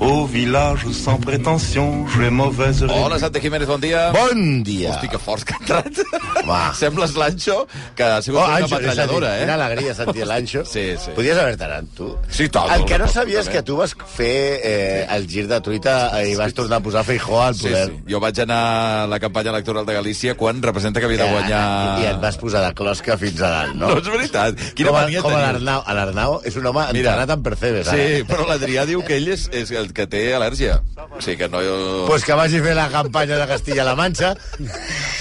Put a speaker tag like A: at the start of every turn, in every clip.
A: Au village sans prétention, j'ai mauvaise
B: Hola, Santi Jiménez, bon dia.
C: Bon dia!
B: Hosti, que fort que ha entrat.
C: Home.
B: Sembles l'Anxo, que ha sigut
C: Oh,
B: una
C: Anxo, és a dir,
B: patralladora, eh?
C: quina alegria sentir l'Anxo.
B: Sí, sí.
C: Podies haver-te anat, tu.
B: Sí, tant,
C: El que no
B: molt,
C: sabies
B: perfectament.
C: que tu vas fer eh, el gir de truita eh, i vas tornar a posar Feijó al
B: Sí,
C: poder.
B: sí. Jo vaig anar a la campanya electoral de Galícia quan representa que havia de guanyar...
C: Eh, I, I et vas posar de closca fins a dalt, no?
B: No, és veritat. Quina
C: com, a-
B: mania
C: com
B: teniu.
C: l'Arnau. A L'Arnau és un home
B: Mira.
C: entrenat en percebes. eh?
B: Sí, però l'Adrià diu que ell és, és el que té al·lèrgia. O sigui que no...
C: Pues que vagi a fer la campanya de Castilla-La Manxa.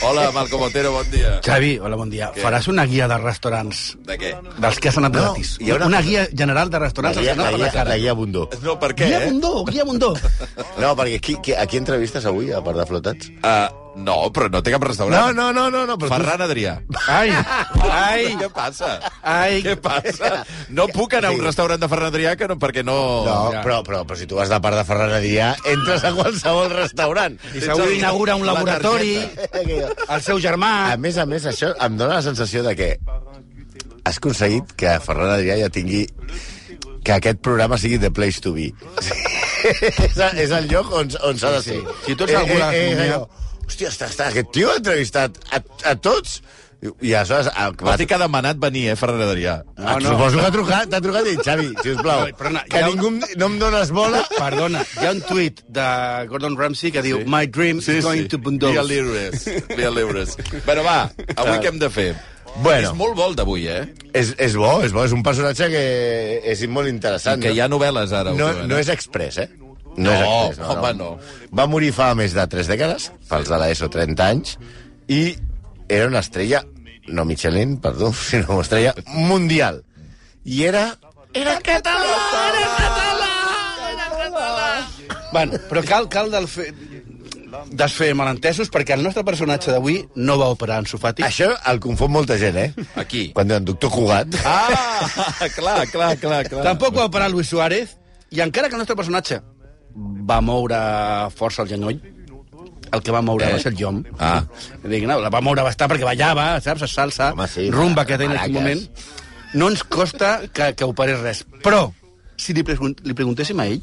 B: Hola, Malcom Otero, bon dia.
D: Xavi, hola, bon dia.
B: Què?
D: Faràs una guia de restaurants
B: De què?
D: dels que has anat
C: No,
D: gratis.
C: hi ha una-
D: una... guia general de
C: La
D: restaurants dels
C: guia,
D: que no
C: la
D: has anat
C: guia, la
D: gratis.
C: guia Bundó.
B: No, per què,
D: Guia
B: eh?
D: Bundó, guia Bundó.
C: No, perquè qui, qui, a qui entrevistes avui, a part de flotats?
B: Uh, no, però no té cap
C: No,
B: restaurant.
C: no, no, no, no però tu
B: Ferran Adrià.
D: Ai, ai,
B: Què passa?
D: ai.
B: Què passa? No puc anar a un
C: Sí.
B: restaurant de Ferran Adrià que no, perquè no...
C: No,
D: Oh, Ja.
C: però, però, però si tu vas de part de Ferran Adrià, entres a qualsevol restaurant.
D: I segur inaugura un
B: La
D: laboratori, el seu germà...
C: A més a més, això em dóna la sensació de que has aconseguit que Ferran Adrià ja tingui que aquest programa sigui The Place to Be. Sí. és, a- és el lloc on, on s'ha de ser. Eh,
D: Si tu ets algú de l'economia-
C: allò, Hòstia, està, està, aquest tio ha entrevistat a, a tots. I, i aleshores... A,
B: Va dir que ha demanat venir, eh, Ferran Adrià.
C: Ah, no. Suposo que ha trucat, t'ha trucat i dit, Xavi, sisplau,
D: No, perdona,
C: que
D: hi ha un-
C: ningú em- no em dones bola.
D: Perdona, hi ha un tuit de Gordon Ramsay que diu My dream is going to Bundos.
B: Via lliures. Via lliures. Però va, avui què hem de fer?
C: Bueno.
B: És molt vol d'avui, eh?
C: És, és bo, és bo, és un personatge que és molt
B: I
C: interessant.
B: que
C: no?
B: hi ha novel·les ara.
C: no,
B: últimament.
C: no és express, eh?
B: No,
C: és express,
B: home, no.
C: Va morir fa més de tres dècades, pels de l'ESO 30 anys, i era una estrella, no Michelin, perdó, sinó una estrella mundial. I era... Era català! Era català!
D: Bueno, però cal, cal del fe... desfer malentesos perquè el nostre personatge d'avui no va operar en sofàtic.
C: Això el confon molta gent, eh?
B: Aquí.
C: Quan diuen doctor Cugat.
B: Ah, clar, clar, clar, clar.
D: Tampoc va operar Luis Suárez, i encara que el nostre personatge va moure força el genoll, el que va moure
B: Eh?
D: eh? va ser el Jom.
B: Ah.
D: Dic, no, la va moure bastant perquè ballava, saps, es salsa,
C: Home, sí,
D: rumba
C: va-
D: que té en aquell
C: maracas.
D: moment. No ens costa que, que operés res. Però, si li, pregun li preguntéssim a ell,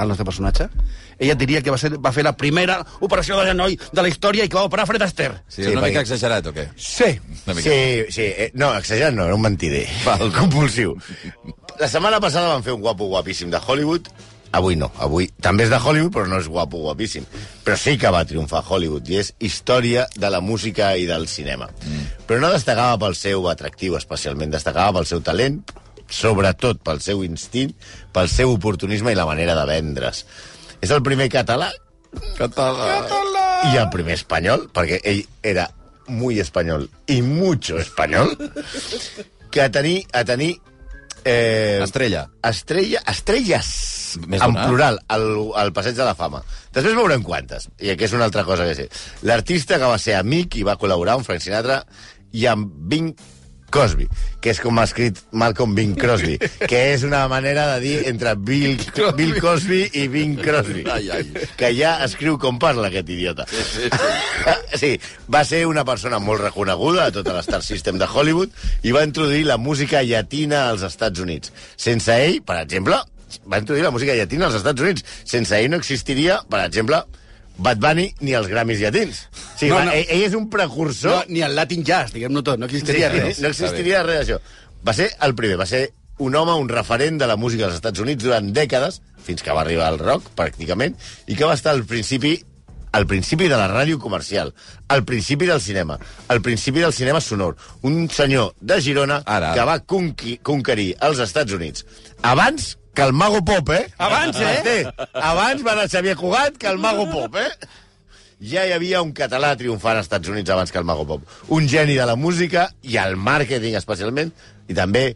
D: al nostre personatge, ella et diria que va, ser, va fer la primera operació de genoll de la història i que va operar Fred Astaire.
B: Sí,
C: Sí,
B: una
C: perquè-
B: mica exagerat, o què?
D: Sí.
B: Una mica.
C: Sí, sí. eh, No, exagerat no, era un mentider.
B: Val.
C: Compulsiu. La setmana passada van fer un guapo guapíssim de Hollywood. Avui no, avui també és de Hollywood, però no és guapo guapíssim. Però sí que va triomfar a Hollywood i és història de la música i del cinema.
B: Mm.
C: Però no destacava pel seu atractiu especialment, destacava pel seu talent, sobretot pel seu instint, pel seu oportunisme i la manera de vendre's. És el primer català y al primer español, perquè ell era muy español y mucho español, que a tenir... A tenir eh,
B: Estrella.
C: Estrella, estrelles,
B: Més
C: en
B: d'una.
C: plural, al, al Passeig de la Fama. Després veurem quantes, i que és una altra cosa que sé. L'artista que va ser amic i va col·laborar amb Frank Sinatra i amb Bing Crosby, que és com ha escrit Malcolm Bing Crosby, que és una manera de dir entre Bill, Bill Cosby i Bing Crosby,
B: Ai, ai.
C: que ja escriu com parla aquest idiota.
B: sí,
C: Sí, va ser una persona molt reconeguda a tot l'Star System de Hollywood i va introduir la música llatina als Estats Units. Sense ell, per exemple, va introduir la música llatina als Estats Units. Sense ell no existiria, per exemple, Bad Bunny ni els Grammys llatins. O sigui,
D: No,
C: va,
D: no.
C: Ell, ell és un
D: No,
C: precursor...
D: ni el Latin Jazz, diguem-ne tot, no
C: Sí,
D: existiria
C: sí,
D: res.
C: no existiria res d'això. Va ser el primer, va ser un home, un referent de la música als Estats Units durant dècades, fins que va arribar al rock, pràcticament, i que va estar al principi al principi de la ràdio comercial, al principi del cinema, al principi del cinema sonor. Un senyor de Girona
B: Ara, ara.
C: que va conqui, conquerir els Estats Units. Abans que el Mago Pop, eh?
D: Abans, eh?
C: Té, abans va anar Xavier Cugat que el Mago Pop, eh? ja hi havia un català triomfant als Estats Units abans que el Mago Pop. Un geni de la música i el màrqueting especialment, i també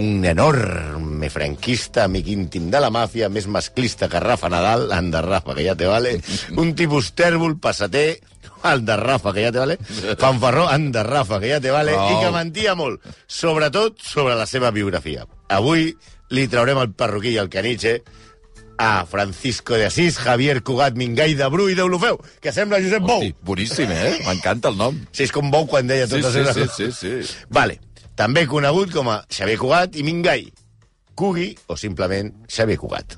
C: un enorme franquista, amic íntim de la màfia, més masclista que Rafa Nadal, anda Rafa, que ja te vale, un tipus tèrbol, passater, Anda, Rafa, que ja te vale. Fanfarró, anda, Rafa, que ja te vale.
B: Prou.
C: I que mentia molt, sobretot sobre la seva biografia. Avui li traurem el perruquí i el caniche a Francisco de Asís, Javier Cugat, Mingai de Bru i d'Olofeu, que sembla Josep Bou.
B: Hosti, boníssim, eh? M'encanta el nom.
C: Si és com Bou quan deia
B: Sí,
C: totes
B: sí,
C: les-
B: sí, sí, sí.
C: Vale. També conegut com a Xavier Cugat i Mingai. Cugui o simplement Xavier Cugat.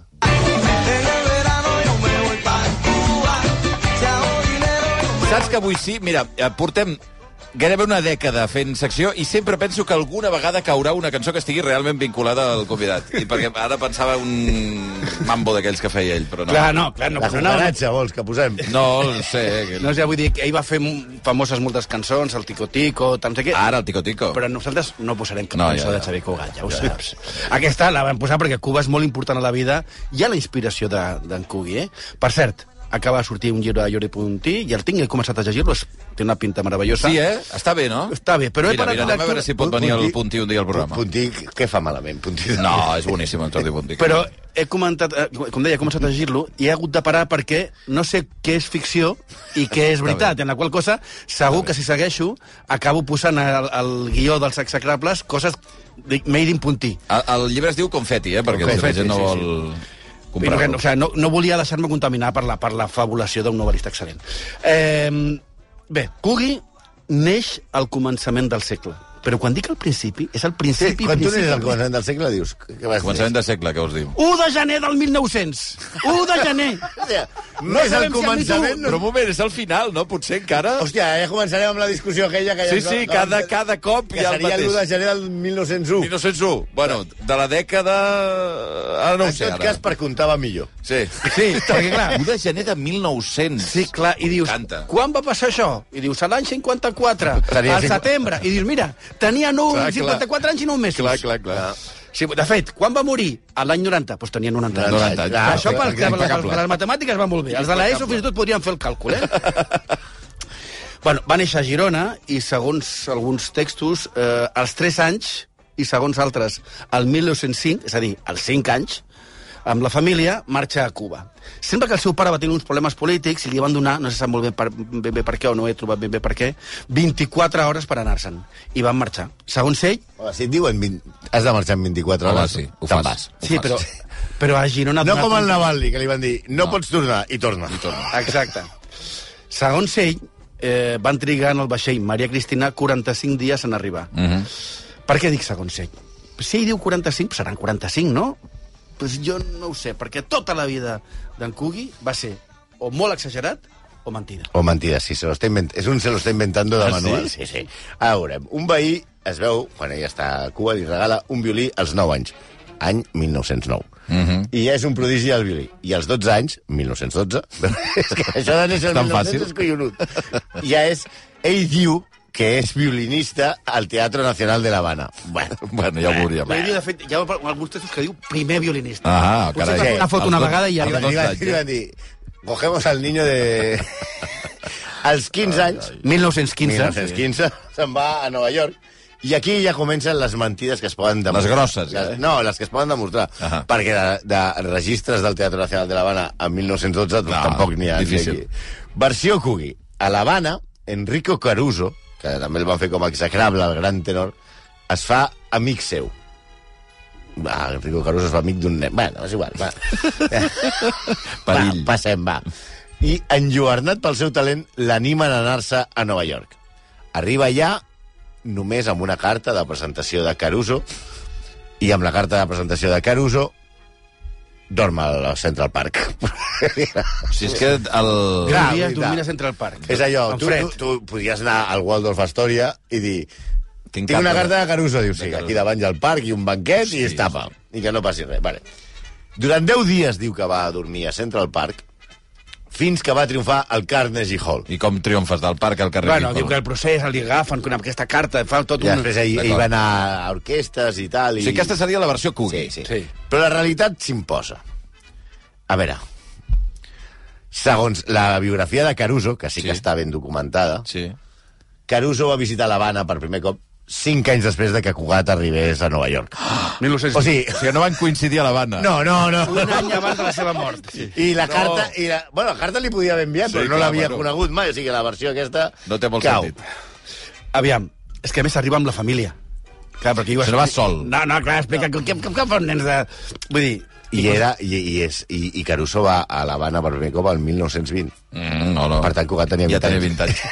B: Saps que avui sí? Mira, eh, portem gairebé una dècada fent secció i sempre penso que alguna vegada caurà una cançó que estigui realment vinculada al convidat. I perquè ara pensava un mambo d'aquells que feia ell, però no.
D: Clar, no, clar, Ah, no.
C: La
D: però no, no,
C: cucaratxa, vols que posem?
B: No, no sé. eh, Que...
D: no, ja vull dir que ell va fer m- famoses moltes cançons, el Ticotico, tant sé què...
B: Ara, el tico-tico.
D: Però nosaltres no posarem cap
B: Oh. No,
D: no,
B: ja,
D: cançó
B: ja.
D: de Xavier Cugat, ja ho saps. Aquesta la vam posar perquè Cuba és molt important a la vida. Hi ha la inspiració de- d'en de, Cugui, eh? Per cert, acaba de sortir un llibre de Jordi Puntí, i el tinc, he començat a llegir-lo, es- té una pinta meravellosa.
B: Sí, eh? Està bé, no?
D: Està bé, però he
B: mira,
D: parat
B: mira,
D: la
B: anem a veure
D: lectura.
B: si pot venir el
C: Puntí-
B: Puntí un dia al programa.
C: Puntí, què fa malament? Puntí de...
B: No, és boníssim en Jordi Puntí.
D: Però he comentat, eh, com deia, he començat a llegir-lo i he hagut de parar perquè no sé què és ficció i què és veritat, en la qual cosa segur que si segueixo acabo posant al, al guió dels execrables coses dic, made in puntí.
B: El, el llibre es diu Confeti, eh? Perquè la
D: Confeti,
B: gent no
D: sí,
B: vol...
D: sí. I
B: comprar
D: Perquè, no, o sigui, no, no volia deixar-me contaminar per la, per la fabulació d'un novel·lista excel·lent. Eh, bé, Cugui neix al començament del segle. Però quan dic al principi, és al
C: Sí,
D: principi...
C: quan tu
D: principi,
C: n'és al començament del segle, dius... Que vas
B: Començament de segle, què vols dir?
D: 1 de gener del 1900! 1 de gener!
C: O sigui,
D: No
C: més al
D: sabem si a mi
C: començament...
D: tu-
C: No...
B: Però un moment, és el final, no? Potser encara...
C: Hòstia, ja començarem amb la discussió aquella que ja...
B: Sí, sí, cada, cada cop hi
C: Que
B: ha el
C: seria
B: mateix.
C: l'1 de gener del 1901.
B: 1901. Bueno, de la dècada... Ara no ho
C: en
B: sé,
C: tot
B: ara.
C: cas, per comptar va millor.
B: Sí.
D: Sí, perquè clar,
B: 1 de gener de 1900.
D: Sí, clar, i dius,
B: M'encanta.
D: quan va passar això? I dius, a l'any 54,
C: Tenia
D: al
C: cinqu-
D: setembre. I dius, mira, tenia nou,
B: Clar, clar.
D: 54 anys i 9 mesos.
B: Clar, clar, clar.
D: Sí, de fet, quan va morir? A l'any 90, doncs tenia 90 anys.
B: 90 anys.
D: Clar,
B: Clar, clar,
D: això
B: clar,
D: pel, per, les,
B: impecable.
D: per les matemàtiques va molt bé. Els de l'ESO fins i tot podrien fer el càlcul, eh? bueno, va néixer a Girona i, segons alguns textos, eh, als 3 anys i, segons altres, al 1905, és a dir, als 5 anys, amb la família, marxa a Cuba. Sempre que el seu pare va tenir uns problemes polítics i li van donar, no se sap molt ben, per, ben bé per què o no he trobat ben bé per què, 24 hores per anar-se'n. I van marxar. Segons ell,
C: Home, si et diuen 20... has de marxar en 24
B: Home,
C: hores,
B: sí, ho
C: te'n
B: fas.
C: vas.
D: Sí, però, però a Girona...
C: No
D: donat
C: com el
D: un-
C: Navalny, que li van dir, no, pots tornar, i torna. I torna.
D: Exacte. Segons ell, eh, van trigar en el vaixell Maria Cristina 45 dies en arribar.
B: Uh -huh.
D: Per què dic segons ell? Si ell diu 45, seran 45, no? Pues jo no ho sé, perquè tota la vida d'en Cugui va ser o molt exagerat o mentida.
C: O mentida, sí, Oh, se lo está invent... és un se lo está inventando de
B: Ah,
C: manual.
B: sí?
C: sí. Ara veurem. Un veí es veu, quan ell està a Cuba, li regala un violí als 9 anys. Any 1909. Mm
B: Mhm.
C: -hmm. I ja és un prodigi del violí. I als 12 anys, 1912, és que això de néixer al
B: Tan
C: 1900
B: fàcil.
C: és collonut. Ja és... Ell diu que és violinista al Teatro Nacional de La Habana. Bueno,
B: Bueno, ja ho veuríem.
D: Ell diu, de fet, hi ha alguns textos que diu primer violinista.
B: Ah,
D: Potser
B: carai.
D: fa una foto una
B: Els dos-
D: vegada i ja...
B: els
C: li van,
B: dos
C: li van,
B: anys,
C: li van dir... Cogemos al niño de... als 15 anys,
D: 1915.
C: 1915 se'n va a Nova York. I aquí ja comencen les mentides que es poden demostrar.
B: Les grosses, ja, eh?
C: Les, no, les que es poden demostrar. Uh
B: Ahà.
C: -huh. Perquè de, de registres del Teatre Nacional de l'Havana en 1912
B: No,
C: no, doncs, tampoc n'hi ha. ni
B: Ah, difícil.
C: aquí. Versió Cugui. A l'Havana, Enrico Caruso, que també el van fer com a execrable, el gran tenor, es fa amic seu. Va, Enrico Caruso es fa amic d'un nen. Bueno, és igual. Va.
B: Perill.
C: Va, passem, va. I enlluernat pel seu talent, l'animen a anar-se a Nova York. Arriba allà només amb una carta de presentació de Caruso i amb la carta de presentació de Caruso dorm al Central Park.
B: Si és que el...
C: Clar,
D: Gran dia,
C: veritat.
D: dormint a Central Park.
C: És allò,
D: En
C: tu,
D: fred.
C: tu, tu podries anar al Waldorf Astoria i dir
B: Tinc,
C: tinc una carta de Caruso, diu,
B: de
C: sí,
B: Caruso.
C: aquí davant hi ha el parc i un banquet
B: Sí,
C: i es tapa, i que no passi res. Vale. Durant 10 dies diu que va a dormir a Central Park fins que va triomfar al Carnegie Hall.
B: I com triomfes del parc al carrer
D: Bueno,
B: Lincoln.
D: diu que el procés el li agafen amb aquesta carta, fa tot
C: I
D: un...
C: després ell, ell
B: Mm. D'acord.
C: va anar a orquestes i tal.
B: O
C: I...
B: sigui, aquesta seria la versió
C: sí,
B: Cugui.
C: sí. sí.
D: Sí.
C: Però la realitat s'imposa. A veure, segons la biografia de Caruso, que sí,
B: Sí.
C: que està ben documentada,
B: sí.
C: Caruso va visitar l'Havana per primer cop cinc anys després de que Cugat arribés a Nova York.
D: 1900.
C: O sigui,
B: O sigui, no van coincidir a l'Havana.
C: no, no, no.
D: un any abans de la seva mort. Sí.
C: I la
B: No.
C: carta... I la... Bueno, la carta li podia haver enviat,
B: Sí,
C: sí, però no
B: clar,
C: l'havia
B: bueno.
C: bueno. conegut mai. O sigui, la versió aquesta...
B: No té molt
C: cau.
B: sentit.
D: Aviam, és que a més arriba amb la família. Clar, perquè
B: Se n'ha sol.
D: No, no, clar, explica, no. què, què, què fan nens de... Vull dir,
C: I, era, i, i, és, i, i Caruso va a l'Havana per primer cop al 1920.
B: Mm, no, no.
C: Per tant, Cugat tenia
B: ja
C: 20
B: tenia
C: anys.
B: 20 anys.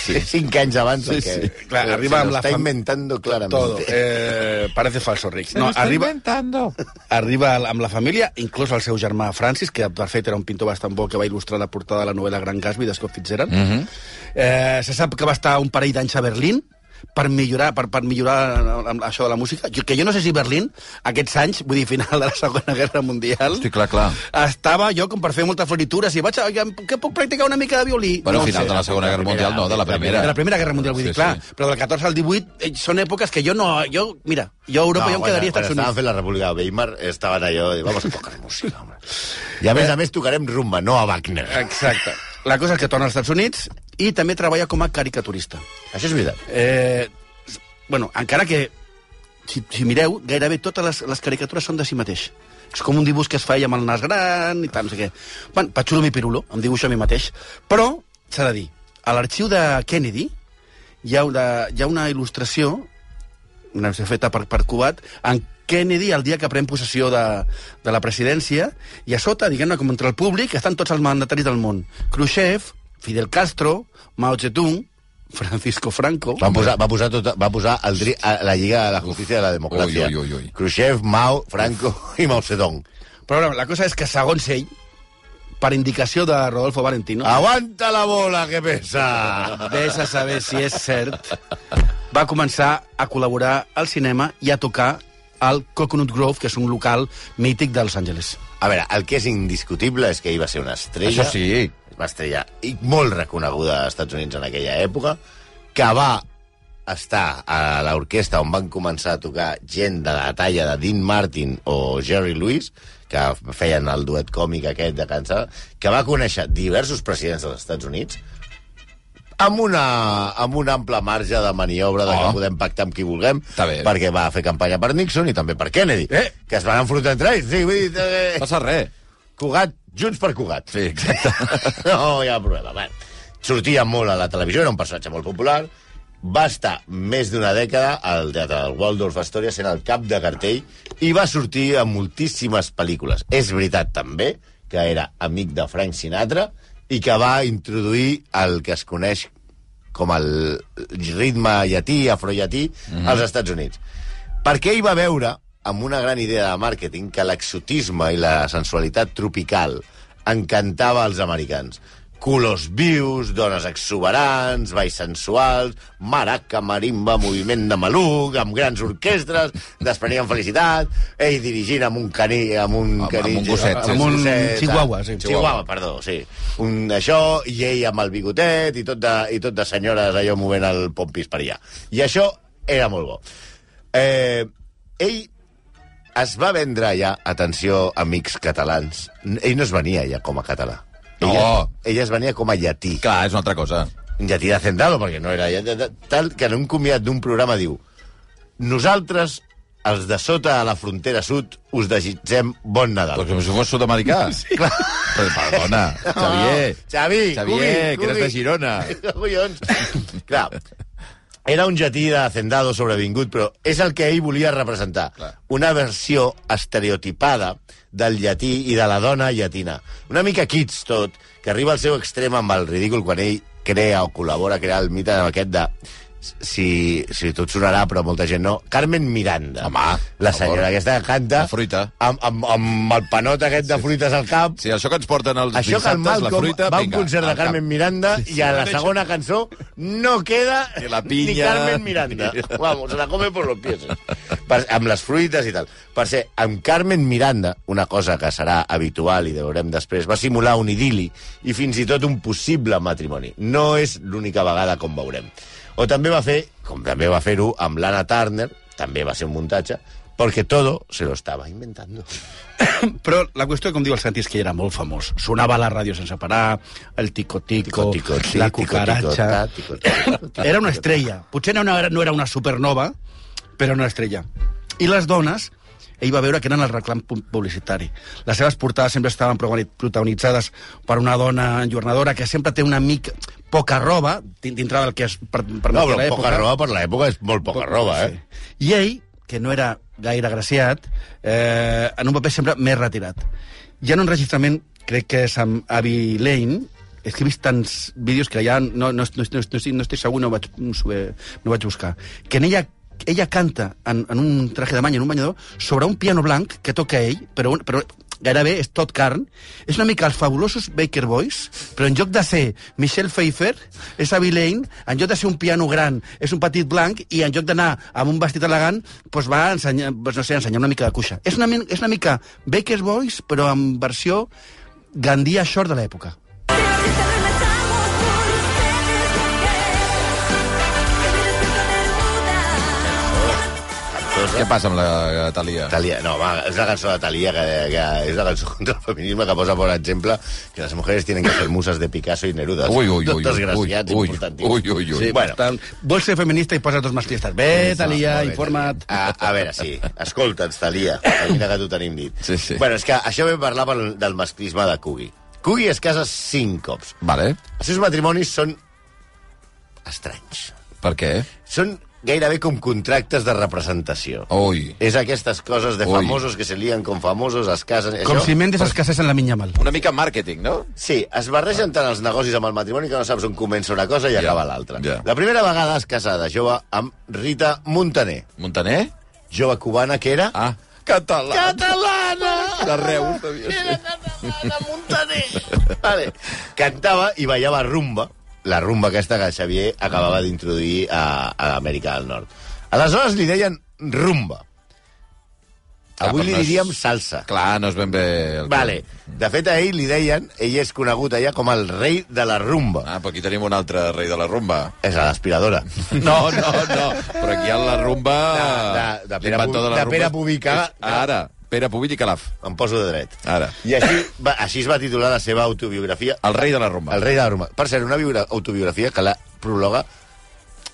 C: Sí. Cinc anys abans.
B: Sí,
C: que...
B: sí.
D: Clar,
C: Se
D: arriba amb
C: lo
D: la
C: Està
D: fam-
C: inventando claramente.
D: todo. Eh, parece falso, Rix.
B: No,
D: No, arriba,
B: inventando.
D: arriba al- amb la família, inclús el seu germà Francis, que per fet era un pintor bastant bo que va il·lustrar la portada de la novel·la Gran Gatsby de Scott Fitzgerald. Mm
B: Mhm.
D: -hmm. eh, se sap que va estar un parell d'anys a Berlín per millorar, per, per millorar eh, amb això de la música. Jo, que jo no sé si Berlín, aquests anys, vull dir, final de la Segona Guerra Mundial...
B: Hosti, clar, clar.
D: Estava jo com per fer moltes floritures i vaig a... Que puc practicar una mica de violí?
B: Bueno,
D: ho
B: final
D: sé.
B: de la Segona Guerra Mundial, no, de la Primera.
D: De la Primera Guerra Mundial, vull dir,
B: Sí,
D: clar.
B: sí.
D: Però del 14 al 18 eh, són èpoques que jo no... Jo, mira, jo a Europa no, jo em quedaria a Estats
C: Quan estaven
D: Units.
C: fent la República de Weimar, estaven allò... de, Vamos a tocar música, home. I a més a més tocarem rumba, no a Wagner.
D: Eh? Exacte. La cosa és que torna als Estats Units i també treballa com a caricaturista.
C: Això és veritat.
D: Eh, bueno, encara que, si, si mireu, gairebé totes les, les caricatures són de si mateix. És com un dibuix que es fa ell amb el nas gran i tal, no sé què. Bueno, Patxulo mi pirulo, em dibuixo a mi mateix. Però, s'ha de dir, a l'arxiu de Kennedy hi ha, una, hi ha una il·lustració una ser feta per, per Cubat, en Kennedy, el dia que pren possessió de, de la presidència, i a sota, diguem-ne, com entre el públic, estan tots els mandataris del món. Khrushchev, Fidel Castro, Mao Zedong, Francisco Franco...
C: Va posar, va posar, tot, va posar el, dri- a la Lliga de la Justícia de la Democràcia.
B: Ui, ui, ui, ui.
C: Khrushchev, Mao, Franco i Mao Zedong.
D: Però bueno, la cosa és que, segons ell, per indicació de Rodolfo Valentino,
C: Ah. Aguanta la bola, que pesa!
D: vés a saber si és cert, va començar a col·laborar al cinema i a tocar al Coconut Grove, que és un local mític de Los Angeles.
C: A veure, el que és indiscutible és que ell va ser una estrella.
B: Això sí.
C: Una estrella i molt reconeguda als Estats Units en aquella època, que va estar a l'orquestra on van començar a tocar gent de la talla de Dean Martin o Jerry Lewis, que feien el duet còmic aquest de cansada, que va conèixer diversos presidents dels Estats Units, amb, una, amb un ample marge de maniobra de
B: Oh.
C: que podem pactar amb qui vulguem,
B: Està bé.
C: perquè va fer campanya per Nixon i també per Kennedy,
B: Eh.
C: que es van enfrontar entre ells. Sí, vull dir, eh,
B: Passa res.
C: Cugat, junts per Cugat.
B: Sí, exacte.
C: No hi ha problema. Bueno, sortia molt a la televisió, era un personatge molt popular. Va estar més d'una dècada al teatre del Waldorf Astoria sent el cap de cartell i va sortir a moltíssimes pel·lícules. És veritat, també, que era amic de Frank Sinatra i que va introduir el que es coneix com el ritme llatí, afroiatí, mm -hmm. als Estats Units. Perquè ell va veure, amb una gran idea de màrqueting, que l'exotisme i la sensualitat tropical encantava als americans. Colors vius, dones exuberants, balls sensuals, maraca, marimba, moviment de maluc, amb grans orquestres, desprenien felicitat, ell dirigint amb un caní... Amb un,
B: Amb- amb un gosset, sí,
C: amb
B: sí.
C: un
D: Chihuahua, sí.
C: Chihuahua, Ah, perdó, sí. Un això, i ell amb el bigotet, i tot de, i tot de senyores allò movent el pompis per allà. I això era molt bo. Eh, ell es va vendre ja, atenció, amics catalans. N- Ell no es venia ja com a català.
B: No.
C: Ella, ella es venia com a llatí.
B: Clar, és una altra cosa.
C: Un llatí de Zendado, perquè no era llatí. de- Tal que en un comiat d'un programa diu nosaltres, els de sota a la frontera sud, us desitgem bon Nadal.
B: Però com si fos sud-americà. Sí. Clar. Però, perdona, Xavier.
C: Xavi,
B: Xavier,
C: Cugui,
B: que eres de
C: Cugui.
B: Girona.
C: Collons. Clar, era un llatí de Hacendado sobrevingut, però és el que ell volia representar.
B: Clar.
C: Una versió estereotipada del llatí i de la dona llatina. Una mica kids, tot, que arriba al seu extrem amb el ridícul quan ell crea o col·labora a crear el mite aquest de si, si tot sonarà, però molta gent no. Carmen Miranda.
B: Home, per
C: la senyora
B: favor.
C: aquesta que canta...
B: La fruita.
C: Amb, amb, amb el panot aquest de fruites al cap.
B: Sí, això que ens porten els
C: Això que el
B: dissabtes, la
C: Malcolm
B: fruita,
C: va a un
B: vinga,
C: concert de
B: al cap.
C: Carmen Miranda i a la segona cançó no queda
B: Ni la pinya.
C: ni Carmen Miranda. Vamos, se la come por los pies. Per, amb les fruites i tal. Per ser, amb Carmen Miranda, una cosa que serà habitual i veurem després, va simular un idili i fins i tot un possible matrimoni. No és l'única vegada com veurem. O també va fer, com també va fer-ho amb l'Anna Turner, també va ser un muntatge, Porque todo se lo estaba inventando.
D: Però la qüestió, com diu el Santi, és que ell era molt famós. Sonava a la ràdio sense parar, el tico-tico,
C: Tico, tico,
D: la
C: tico, tico,
D: cucaracha...
C: tico, tico, tico, tico,
D: Era una
C: tico,
D: estrella. Potser no era, no era una supernova, però era una estrella. I les dones, ell va veure que eren el reclam pu- publicitari. Les seves portades sempre estaven progoni- protagonitzades per una dona enjornadora que sempre té una mica poca roba, din- dintre del que es per, per
C: No, però poca roba per l'època és molt poca roba, eh?
D: Sí. I ell, que no era gaire graciat, eh, en un paper sempre més retirat. Ja en un registrament, crec que és amb Abby Lane, és que he vist tants vídeos que ja no, no, no, no, no, estic, no estic segur, no ho vaig, no ho- no ho vaig buscar, que en ella ella canta en, en un traje de bany, en un banyador, sobre un piano blanc que toca ell, però, un, però gairebé és tot carn. És una mica els fabulosos Baker Boys, però en lloc de ser Michelle Pfeiffer, és Abby Lane, en lloc de ser un piano gran, és un petit blanc, i en lloc d'anar amb un vestit elegant, doncs va ensenyar, doncs no sé, ensenyar una mica de cuixa. És una, min- és una mica Baker Boys, però en versió Gandia Short de l'època.
B: Què passa amb la eh, Talia?
C: Thalía, no, va, es la canción de Talía, que, que es la canción contra el feminismo que posa, por ejemplo, que las mujeres tienen que ser musas de Picasso y Neruda.
B: Uy, uy, uy,
C: Dos
B: uy,
C: desgraciats
B: uy,
C: importantíssims.
B: uy, uy, uy.
C: Sí, bueno,
D: bastant. Vols ser feminista i posa dos masclistes. Bé, Talia,
C: Molt bé,
D: informa't.
C: Thalia. A, a veure, sí, escolta'ns, Talia, mira que t'ho tenim dit.
B: Sí, sí.
C: Bueno, és que això vam parlar pel, del masclisme de Cugui. Cugui es casa cinc cops.
B: Vale.
C: Els seus matrimonis són estranys.
B: Per què?
C: Són gairebé com contractes de representació.
B: Ui.
C: És aquestes coses de
B: Ui.
C: famosos que se lien con famosos, es casen...
D: Com
C: això-
D: si Mendes es casés en la minya mal.
B: Una mica màrqueting, no?
C: Sí, es barregen tant els negocis amb el matrimoni que no saps on comença una cosa
B: Ah.
C: i
B: Ja,
C: acaba l'altra.
B: ja.
C: La primera vegada es casà de jove amb Rita Montaner,
B: Montaner?
C: jove cubana que era...
B: Ah. Català.
C: Catalana!
B: De Reus, devia ser.
C: Era catalana, Montaner! Vale. Cantava i ballava rumba, la rumba aquesta que Xavier acabava d'introduir a, a l'Amèrica del Nord. Aleshores li deien rumba.
B: Ah,
C: Avui
B: però
C: li
B: no és-
C: diríem salsa.
B: Clar, no es ben bé... El...
C: Vale. De fet, a ell li deien, ell és conegut allà com el rei de la rumba.
B: Ah, però aquí tenim un altre rei de la rumba.
C: És a l'aspiradora.
B: No, no, no. Però aquí hi ha la rumba...
C: De- de- de Pere
B: l'inventor
C: Pu- de Pere Pubica.
B: És Ara. Pere Pubill i Calaf.
C: Em poso de dret.
B: Ara.
C: I així, va, així es va titular la seva autobiografia,
B: El rei de la rumba.
C: El rei de la rumba. Per cert, una biogra- autobiografia que la prologa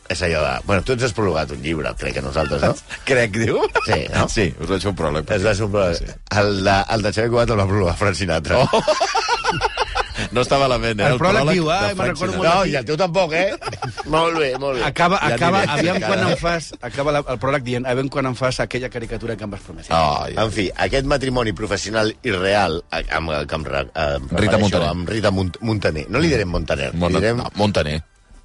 C: és allò de... Bueno, tu ens has prologat un llibre, crec que nosaltres, no?
B: Crec, diu?
C: Sí, no?
B: Sí, us vaig fer un pròleg.
C: Es va soplar...
B: Sí.
C: El, de, el de Xavier Cugat el va prologar Frank Sinatra. Oh,
B: No està malament, eh?
D: El pròleg diu,
B: de
D: "Ai,
B: Frank
D: me'n recordo
B: Sinatra".
C: no, i el teu tampoc, eh? molt bé, molt bé.
D: Acaba,
B: Ja
D: acaba,
B: diré,
D: aviam
B: encara.
D: quan em fas, acaba la, el pròleg dient, aviam quan em fas aquella caricatura que em vas prometre.
B: Ai,
C: En fi, aquest matrimoni professional i real a- amb, el que em, re- em
B: Rita
C: refereixo,
B: Montaner.
C: amb Rita Mont Montaner. No li direm Montaner,
B: Mon
C: li direm
B: no, Montaner.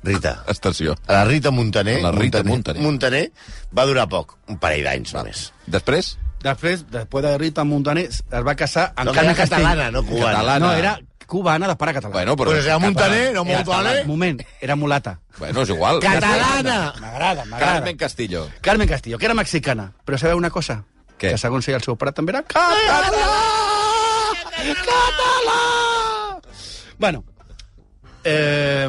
C: Rita.
B: Estació.
C: A la Rita Montaner,
B: La Rita Montaner.
C: Montaner va durar poc, un parell d'anys només.
B: Després?
D: Després, després de Rita Montaner, es va casar amb
C: No,
D: no,
C: que
D: Cana
C: era
D: Castell.
C: catalana, no cubana.
B: Catalana.
D: No, era cubana de pare català.
B: Bueno, però...
C: Pues era Montaner, no
D: Era
C: Montaner.
D: català. Moment, era mulata.
B: Bueno, és igual.
C: Catalana!
D: M'agrada, m'agrada.
B: Carmen Castillo.
D: Carmen Castillo, que era mexicana. Però sabeu una cosa?
B: Què?
D: Que segons ella el seu pare també era català! Català! Bueno, eh,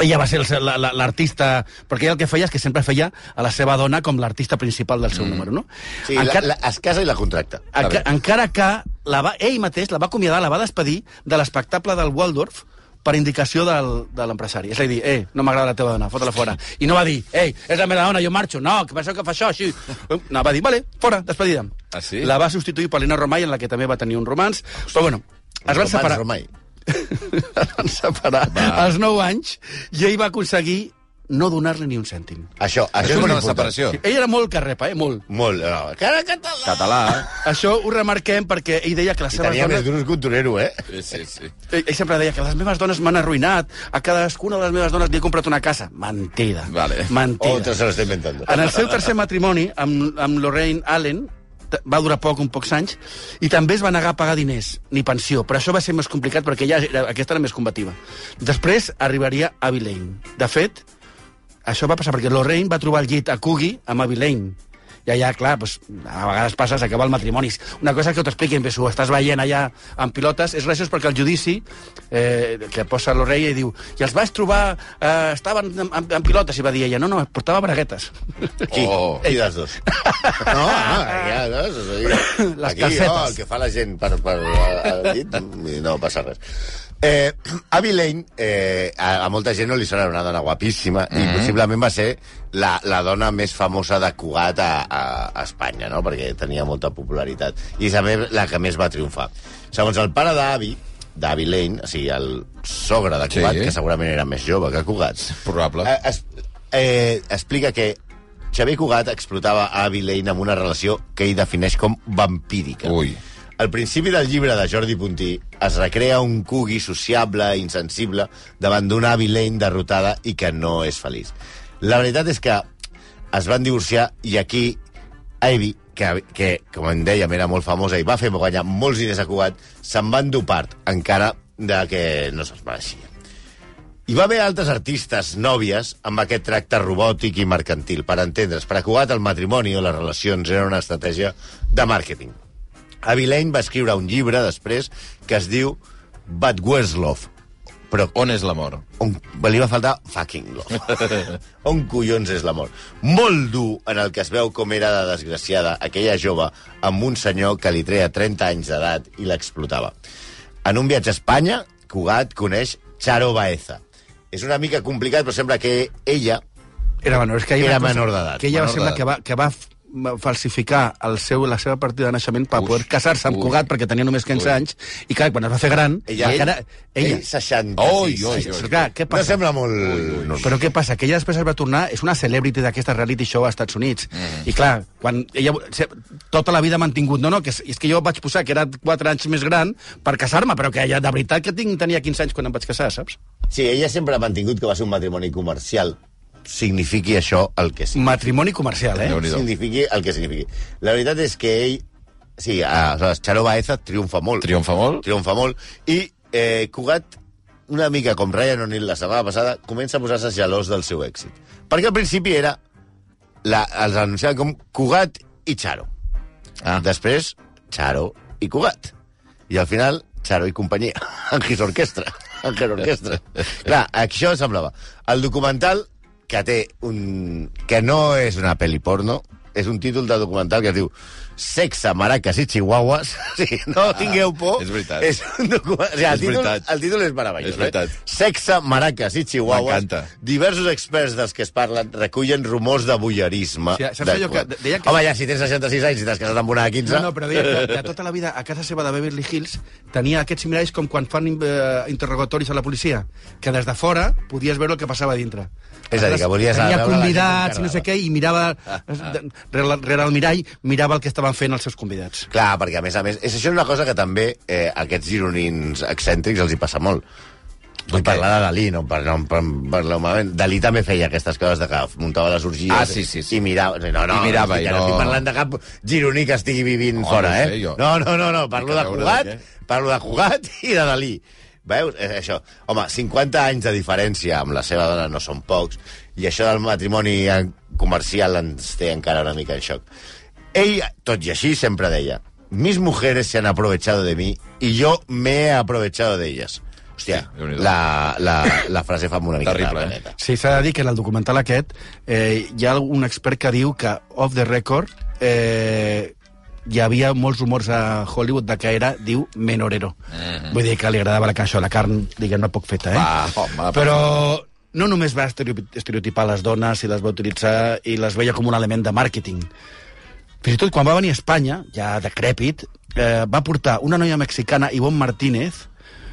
D: ella va ser el- la- la- l'artista... Perquè ella el que feia és que sempre feia a la seva dona com l'artista principal del seu mm. número, no?
C: Sí, la, la, es casa i la contracta.
D: Enca
B: A veure.
D: encara que la va, ell mateix la va acomiadar, la va despedir de l'espectacle del Waldorf per indicació del, de l'empresari. És a dir, eh, no m'agrada la teva dona, fota-la fora. I no va dir, ei, és la meva dona, jo marxo. No, que penseu que fa això, així. No, va dir, vale, fora, despedida.
B: Ah, sí?
D: La va substituir per l'Ina Romay, en la que també va tenir un romans. Però bueno, es van
C: Romans,
D: separar
C: Romai.
D: van separar als 9 anys i ell va aconseguir no donar-li ni un cèntim.
C: Això, això
B: Això
C: és
B: és
C: molt
B: una
C: important.
B: separació.
D: Ell era molt carrepa, eh? Molt.
C: Molt, no, cara català!
B: Català.
D: eh? Això ho remarquem perquè ell deia que les
C: Ah. I
D: seves
C: tenia
D: dones...
C: més duros que un torero, eh?
B: Sí, sí, sí.
D: Ell ell sempre deia que les meves dones m'han arruïnat, a cadascuna de les meves dones li he comprat una casa. Mentida.
B: Vale.
C: O
D: Mentida.
C: te se lo está inventando.
D: En el seu tercer matrimoni, amb, amb Lorraine Allen, t- va durar poc, un pocs anys, i també es va negar a pagar diners, ni pensió, però això va ser més complicat perquè ja era, aquesta era més combativa. Després arribaria Abby Lane. De fet, això va passar perquè Lorraine va trobar el llit a Coogie amb Abby Lane. I allà, clar, doncs, a vegades passa, s'acaba el matrimoni. Una cosa que ho t'expliquin, però si ho estàs veient allà amb pilotes, és gràcies perquè el judici eh, que posa l'orella i diu i els vaig trobar, eh, estaven amb, amb, amb pilotes, i va dir ella, no, no, portava braguetes.
C: Qui?
B: Oh.
C: Oh. Qui dels dos? No, ah, ja, no, o sigui,
D: Les
C: aquí,
D: calcetes.
C: Oh, el que fa la gent per, per al llit, i no passa res. Eh, Abby Lane, eh, a, a molta gent no li sona una dona guapíssima mm -hmm. i possiblement va ser la, la dona més famosa de Cugat a, a, a Espanya, no? perquè tenia molta popularitat. I és a més, la que més va triomfar. Segons el pare d'Avi, d'Avi Lane, o sigui, el sogre de
B: Sí.
C: Cugat, sí. que segurament era més jove que Cugat,
B: Probable.
C: Eh, es, eh, explica que Xavier Cugat explotava a Abby Lane amb una relació que ell defineix com vampírica.
B: Ui.
C: Al principi del llibre de Jordi Puntí es recrea un cugui sociable i insensible davant d'una Abby Lane derrotada i que no és feliç. La veritat és que es van divorciar i aquí Ivy, que, que com en dèiem era molt famosa i va fer guanyar molts diners a Cugat, se'n van dur part, encara de que no se'ls mereixia. Hi va haver altres artistes nòvies amb aquest tracte robòtic i mercantil. Per entendre's, per acugat el matrimoni o les relacions era una estratègia de màrqueting. Avilene va escriure un llibre després que es diu But Where's Love? Però
B: On és l'amor?
C: on li va faltar fucking love. on collons és l'amor. Molt dur en el que es veu com era de desgraciada aquella jove amb un senyor que li treia 30 anys d'edat i l'explotava. En un viatge a Espanya, Cugat coneix Charo Baeza. És una mica complicat, però sembla que ella...
D: Era menor, és que
C: Era
D: va fer-
C: menor d'edat,
D: Que ella va
B: menor
D: semblar
B: d'edat.
D: que va, que va f- falsificar el seu, la seva partida de naixement per
B: Ui,
D: poder casar-se amb
B: ui,
D: Cugat perquè tenia només 15
B: ui.
D: anys i clar, quan es va fer gran
C: Ella,
D: encara, ella,
C: ell 60.
B: Oi, oi,
D: Però
B: oi.
D: clar, què
C: No
D: passa?
C: sembla molt... normal.
D: Però què passa? Que ella després es va tornar... És una celebrity d'aquesta reality show als Estats Units. I clar, quan ella... se- Tota la vida ha mantingut... No, no, que és, és que jo vaig posar que era 4 anys més gran per casar-me, però que ella, de veritat, que tinc, tenia 15 anys quan em vaig casar, saps?
C: Sí, ella sempre ha mantingut que va ser un matrimoni comercial. Signifiqui això el que sigui.
D: Matrimoni comercial, eh?
B: Déu-n'hi-do.
C: Mm. signifiqui el que signifiqui. La veritat és que ell... Sí, aleshores, Charo Baeza triomfa molt.
B: Triomfa molt.
C: Triomfa molt. I eh, Cugat, una mica com Ryan O'Neill la setmana passada, comença a posar-se gelós del seu èxit. Perquè al principi era... La, els anunciaven com Cugat i Charo.
B: Ah.
C: Després, Charo i Cugat. I al final, Charo i companyia. Angis Orquestra. Angis Orquestra. Clar, això semblava. El documental que té un... que no és una pel·li porno, és un títol de documental que es diu Sexe, maracas i chihuahuas. Sí, no tingueu por.
B: Ah, és veritat.
C: És un documental... O sigui,
B: És
C: el, títol,
B: veritat.
C: el títol és meravellós.
B: És veritat.
C: Eh? Sexe, maracas i chihuahuas.
B: M'encanta.
C: Diversos experts dels que es parlen recullen rumors de bullerisme.
D: Sí, saps
C: de
D: allò que-
C: Cugat.
D: deien que-
C: Home, ja, si tens 66 anys i t'has casat amb una de 15...
D: No, no, però deia que de tota la vida a casa seva de Beverly Hills tenia aquests miralls com quan fan eh, interrogatoris a la policia, que des de fora podies veure el que passava a dintre.
C: És a dir, que volies anar
D: Tenia
C: a veure la gent
D: convidats i no sé
C: encarnada.
D: què, i mirava, de- rere, rere el mirall, mirava el que estaven fent els seus convidats.
C: Clar, perquè a més a més... És això una cosa que també eh, a aquests gironins excèntrics els hi passa molt. Vull parlar de Dalí, no, per, no per, per, per, Dalí també feia aquestes coses de que muntava les orgies
B: Ah, sí, sí, sí.
C: i mirava... No, no,
B: I mirava,
C: no, estic,
B: i
C: no
B: no-
C: estic parlant de cap gironí que estigui vivint
B: No,
C: fora,
B: no sé,
C: eh?
B: jo.
C: No, no, no, no, parlo
B: a
C: de
B: veure de
C: Cugat,
B: què.
C: parlo de Cugat i de Dalí. Veus? És això. Home, 50 anys de diferència amb la seva dona no són pocs, i això del matrimoni en- comercial ens té encara una mica en xoc. Ell, tot i així, sempre deia «Mis mujeres se han aprovechado de mí y yo me he aprovechado de ellas». Hòstia,
B: Sí, Déu-n'hi-do.
C: la, la, la frase fa una mica
B: Terrible,
C: de
B: eh?
C: planeta.
D: Sí, s'ha de dir que en el documental aquest eh, hi ha un expert que diu que off the record eh, hi havia molts rumors a Hollywood de que era, diu, menorero. Vull dir que li agradava la cançó, la carn, diguem-ne, poc feta, eh?
B: Va, home,
D: Però no només va estereotip- estereotipar les dones i les va utilitzar i les veia com un element de màrqueting. Fins i tot quan va venir a Espanya, ja decrèpit, eh, va portar una noia mexicana, Ivonne Martínez,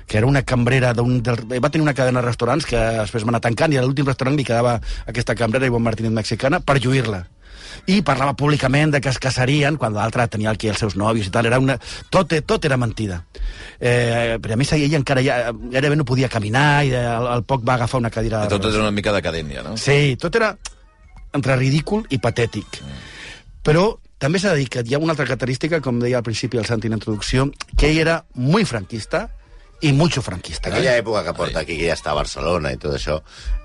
D: que era una cambrera d'un... del- eh, Va tenir una cadena de restaurants que després va anar tancant i a l'últim restaurant li quedava aquesta cambrera, Ivonne Martínez mexicana, per lluir-la. I parlava públicament de que es casarien quan l'altre tenia aquí els seus nòvios i tal. Era una... tot, tot era mentida. Eh, però a més ella encara ja, gairebé no podia caminar i eh, al, al poc va agafar una cadira de
B: Tot és una mica decadència, no?
D: Sí, tot era entre ridícul i patètic. Però també s'ha de dir que hi ha una altra característica, com deia al principi el Santi en la introducció, que ell era muy franquista i mucho franquista. eh?
C: Aquella època que porta aquí, que ja està a Barcelona i tot això,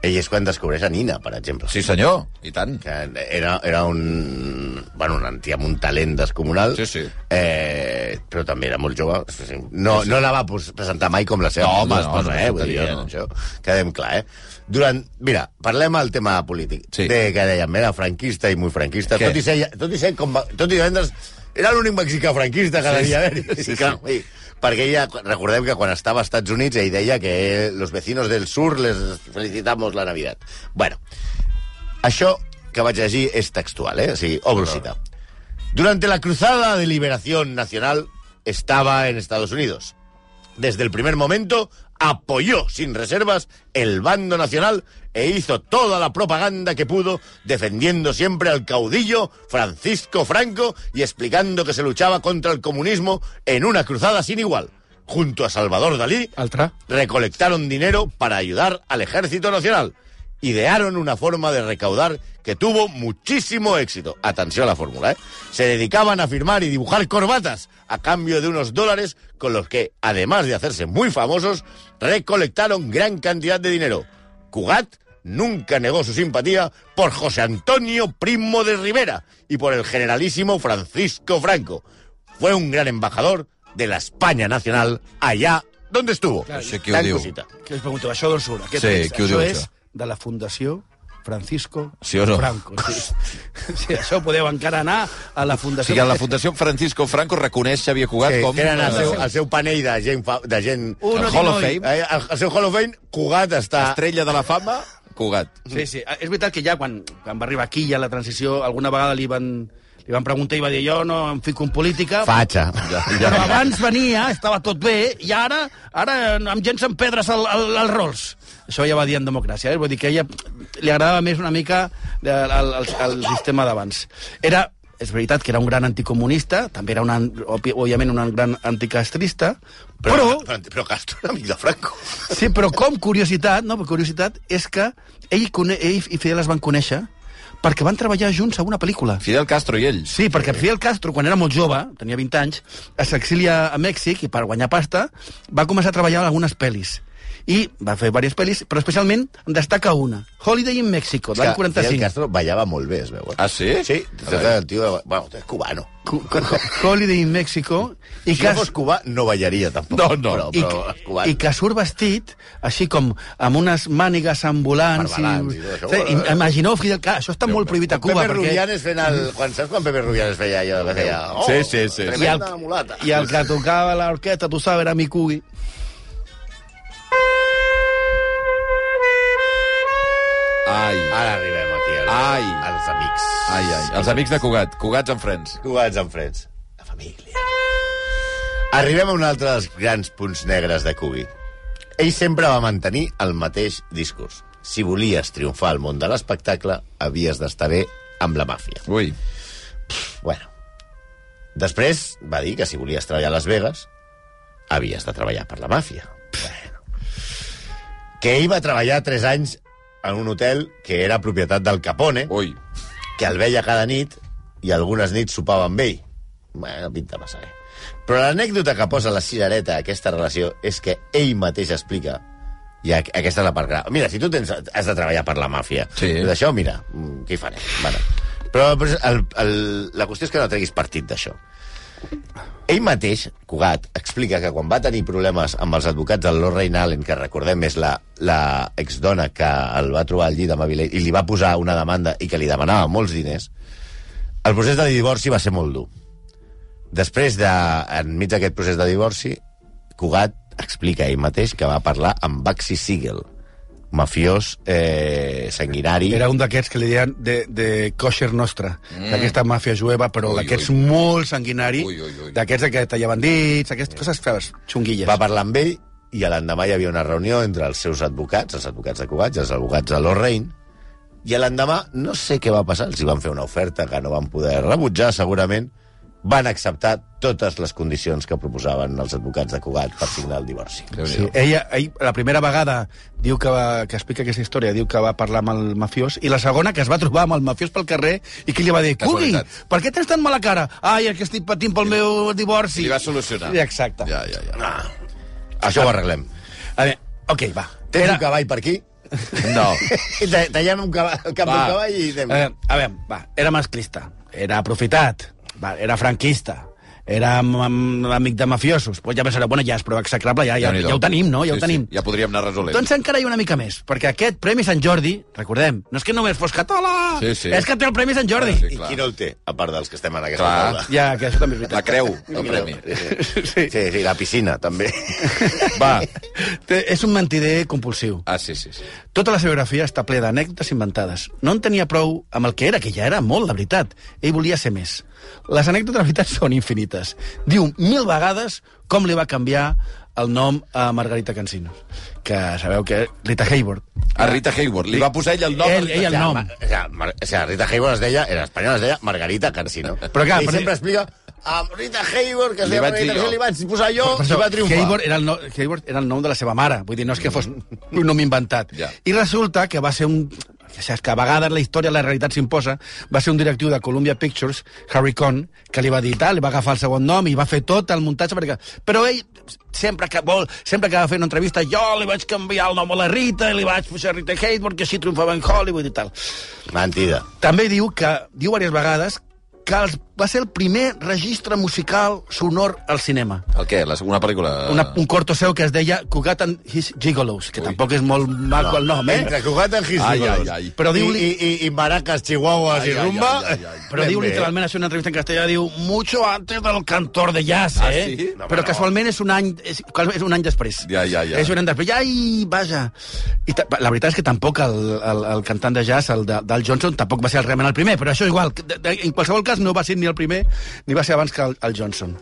C: ell és quan descobreix a Nina, per exemple.
B: Sí, senyor, i tant.
C: que era, era un bueno, una tia amb un talent descomunal,
B: Sí, sí.
C: Eh, però també era molt jove. No, no la va pos- presentar mai com la seva
B: No, home,
C: esposa,
B: no, no,
C: eh? Vull dir,
B: faltaria, no.
C: no, això quedem clar, eh? Durant, mira, parlem del tema polític.
B: Sí.
C: De que dèiem, era franquista i muy franquista.
B: Què?
C: Tot i, ser, tot i ser com... va- Tot i vendre's, era l'únic mexicà franquista que
B: Sí,
C: devia
B: sí.
C: haver-hi.
B: Sí, sí.
C: Clar, Sí, perquè ella, recordem que quan estava als Estats Units, ell deia que los vecinos del sur les felicitamos la Navidad. Bueno, això que vaig llegir és textual, eh? O sigui, obro cita. Durante la cruzada de liberación nacional estaba en Estados Unidos. Desde el primer momento apoyó sin reservas el bando nacional e hizo toda la propaganda que pudo, defendiendo siempre al caudillo Francisco Franco y explicando que se luchaba contra el comunismo en una cruzada sin igual. Junto a Salvador Dalí,
D: Altra.
C: recolectaron dinero para ayudar al Ejército Nacional. Idearon una forma de recaudar que tuvo muchísimo éxito. Atención a la fórmula, ¿eh? Se dedicaban a firmar y dibujar corbatas a cambio de unos dólares con los que, además de hacerse muy famosos, recolectaron gran cantidad de dinero. Cugat nunca negó su simpatía por José Antonio Primo de Rivera y por el generalísimo Francisco Franco. Fue un gran embajador de la España Nacional allá donde estuvo.
B: No sé qui ho
C: Gran
B: diu.
C: cosita.
D: Que us pregunto, això d'on surt? Aquest
B: Sí,
D: text,
B: qui ho diu,
D: és
B: això?
D: de la Fundació Francisco
B: Sí o no?
D: Franco. Sí. sí, això podeu encara anar a la
B: O
D: Fundació...
B: sigui, la Fundació Francisco Franco reconeix Xavier Cugat
C: Sí,
B: com...
C: que eren el seu, el seu panell de gent... Fa, de gent
D: Un
C: el
D: Hall of Fame.
C: Eh, el, el seu Hall of Fame, Cugat està...
B: Estrella de la fama, Cugat.
D: Sí, sí. És veritat que ja quan, quan va arribar aquí, ja la transició, alguna vegada li van, li van preguntar i va dir jo no em fico en política...
C: Fatxa.
D: Però abans venia, estava tot bé, i ara, ara amb gent se'n pedres al, al, als rols. Això ja va dir en democràcia, eh? vull dir que a ella li agradava més una mica eh, de- el, el, el sistema d'abans. Era, és veritat que era un gran anticomunista, també era, una, òbvi- òbviament, un gran anticastrista, però,
C: Però, però, però Castro era amic de Franco.
D: Sí, però com curiositat, no, però curiositat és que ell, i cone- ell i Fidel es van conèixer perquè van treballar junts a una pel·lícula.
B: Fidel Castro i ell.
D: Sí, perquè Fidel Castro, quan era molt jove, tenia 20 anys, s'exilia a Mèxic i per guanyar pasta va començar a treballar en algunes pel·lis. I va fer diverses pel·lis, però especialment en destaca una, Holiday in Mexico, de l'any
C: Fidel
D: 45.
C: Castro ballava molt bé, es veu. eh?
B: Ah, sí?
C: Sí, el tio... Bueno, és cubano.
D: Cu- cu- cu- Holiday in Mexico. I
C: I si
D: que
C: no fos cubà, no ballaria, tampoc.
B: No, no.
C: Però, però és
D: I,
C: cubano.
D: I que surt vestit, així com amb unes mànigues ambulants...
C: Barbalans
D: i,
C: i tot això.
D: Sí, i imagineu Fidel Castro, això està molt prohibit a Cuba,
C: Pepe
D: perquè...
C: Rubianes fent el... Quan saps quan Pepe Rubianes feia allò? Que feia, oh,
B: Sí, sí, sí.
D: I el,
C: Tremenda mulata.
D: I el que tocava l'orquestra, tu sabes, era Mikugi.
B: Ai,
C: Ara arribem aquí, als,
B: Ai.
C: als amics.
B: ai, ai. Els amics de Cugat. Cugats en frens.
C: Cubats amb frens. La família. Arribem a un altre dels grans punts negres de Cubi. Ell sempre va mantenir el mateix discurs. Si volies triomfar al món de l'espectacle, havies d'estar bé amb la màfia.
B: Ui.
C: Bueno. Després va dir que si volies treballar a Las Vegas, havies de treballar per la màfia. Bueno. Que ell va treballar 3 anys en un hotel que era propietat del Capone,
B: Ui.
C: que el veia cada nit i algunes nits sopava amb ell. Bueno, pinta massa bé. Però l'anècdota que posa la cirereta a aquesta relació és que ell mateix explica i a- aquesta és la part grave. Mira, si tu tens, has de treballar per la màfia,
B: Sí.
C: doncs això, mira, mm, què hi farem? Bueno. Però però el, el, la qüestió és que no treguis partit d'això. Ell mateix, Cugat, explica que quan va tenir problemes amb els advocats del Lord Rein Allen, que recordem és la, la exdona que el va trobar al llit amb Avilés i li va posar una demanda i que li demanava molts diners, el procés de divorci va ser molt dur. Després de, enmig d'aquest procés de divorci, Cugat explica ell mateix que va parlar amb Baxi Siegel, mafiós eh, sanguinari.
D: Era un d'aquests que li deien de, de kosher nostra, mm. d'aquesta màfia jueva, però
B: Ui,
D: d'aquests
B: ui.
D: molt sanguinari,
B: Ui, ui, ui.
D: d'aquests que tallaven dits, aquestes coses faves, xunguilles.
C: Va parlar amb ell i a l'endemà hi havia una reunió entre els seus advocats, els advocats de Cubats, els advocats de Lorraine, i a l'endemà no sé què va passar, els hi van fer una oferta que no van poder rebutjar, segurament, van acceptar totes les condicions que proposaven els advocats de Cugat per signar el divorci.
D: Sí, ella, ell, la primera vegada diu que, va, que explica aquesta història, diu que va parlar amb el mafiós, i la segona que es va trobar amb el mafiós pel carrer i que li va dir, Cugui,
B: Casualitat.
D: per què tens tan mala cara? Ai, és que estic patint pel meu divorci.
B: Li va solucionar.
D: Sí, Exacte.
B: Ja, ja, ja.
C: Això ho arreglem.
D: A veure, ok, va.
C: Tens un cavall per aquí?
B: No.
C: I ta- Tallem un cavall, el cap d'un cavall i...
D: Eh, a veure, va, era masclista, era aprofitat, va, era franquista, era am- am- amic de mafiosos. Pues ja pensareu, bueno, ja és prou execrable, ja, ja,
B: Déu-n'hi-do.
D: ja ho tenim, no? Ja
B: Sí,
D: ho tenim.
B: Sí, ja podríem anar resolent.
D: Doncs encara hi ha una mica més, perquè aquest Premi Sant Jordi, recordem, no és que només fos català,
B: Sí, sí. Ah,
D: és que té el Premi Sant Jordi.
B: Sí,
C: I
B: clar.
C: qui no el té, a part dels que estem en aquesta
B: Clar.
C: taula?
D: Ja, que això també és veritat.
B: La creu, el premi.
C: Sí. sí, sí, la piscina, també.
B: Va.
D: Té- És un mentider compulsiu.
B: Ah, sí, sí. sí.
D: Tota la seva biografia està ple d'anècdotes inventades. No en tenia prou amb el que era, que ja era molt, la veritat. Ell volia ser més. Les anècdotes, la veritat, són infinites. Diu mil vegades com li va canviar el nom a Margarita Cancinos, que sabeu que Rita Hayworth.
B: A Rita Hayward. Li va posar ell el nom. a
D: Ell-
B: Rita
D: ell el
B: Hayworth.
D: nom.
C: O sea, Mar- o sea, Rita Hayworth es de ella, era espanyola, es de ella, Margarita Cansino.
D: Però clar,
C: I
D: per-
C: sempre explica a Rita Hayworth, que es
B: Li
C: deia
B: vaig
C: Margarita
B: dir jo.
C: Cansino, li vaig posar jo
D: Per
C: i va
D: això,
C: triomfar.
D: Hayward era, el no, Hayward era el nom de la seva mare, vull dir, no és que fos un nom inventat.
B: Ja.
D: I resulta que va ser un... Que saps que a vegades la història, la realitat s'imposa, va ser un directiu de Columbia Pictures, Harry Cohn, que li va editar, li va agafar el segon nom i va fer tot el muntatge perquè... Però ell, sempre que vol, sempre que va fer una entrevista, jo li vaig canviar el nom a la Rita, i li vaig posar Rita Hayworth, que així triomfava en Hollywood i tal.
C: Mentida.
D: També diu que, diu diverses vegades, que els, va ser el primer registre musical sonor al cinema
B: El què? La segona pel·lícula?
D: una, un corto seu que es deia Cugat and his gigolos, que
B: Ui.
D: Ui. tampoc és molt maco el nom, eh?
C: Entre Cugat en Gis
B: Ai,
C: i Golos.
B: ai, ai.
D: Però
C: I-
D: diu-li-
C: I, i, i maracas, chihuahuas
B: Ai,
C: i
B: ai,
C: rumba...
B: ai, ai, eh? ai.
D: Però
C: Ben
D: diu
C: bé.
D: literalment, això en una entrevista en castellà, diu mucho antes del cantor de jazz,
B: Ah,
D: eh?
B: sí?
D: No, però casualment és un any, és, és un any després.
B: Ja, ja, ja.
D: És un any després. Ai, vaja. I ta- la veritat és que tampoc el, el, el cantant de jazz, el de, del Johnson, tampoc va ser realment el primer, però això igual. que De, de, en qualsevol cas no va ser ni el primer, ni va ser abans que el, el Johnson.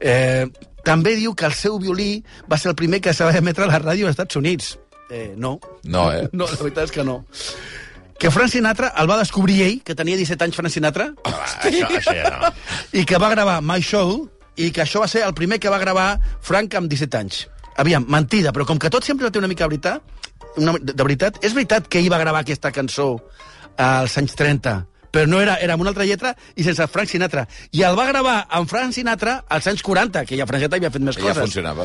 D: Eh, també diu que el seu violí va ser el primer que se va emetre a la ràdio als Estats Units. Eh, no.
B: No, eh?
D: No, la veritat és que no. Que Frank Sinatra el va descobrir ell, que tenia 17 anys Frank Sinatra,
C: Ah, Això, això ja no.
D: i que va gravar My Soul, i que això va ser el primer que va gravar Frank amb 17 anys. Aviam, mentida, però com que tot sempre té una mica de veritat, una, de, de veritat, és veritat que ell va gravar aquesta cançó als anys 30, però no era, era amb una altra lletra i sense Frank Sinatra. I el va gravar amb Frank Sinatra als anys 40, que ja Frank Sinatra havia fet més
B: Ja
D: coses.
B: funcionava.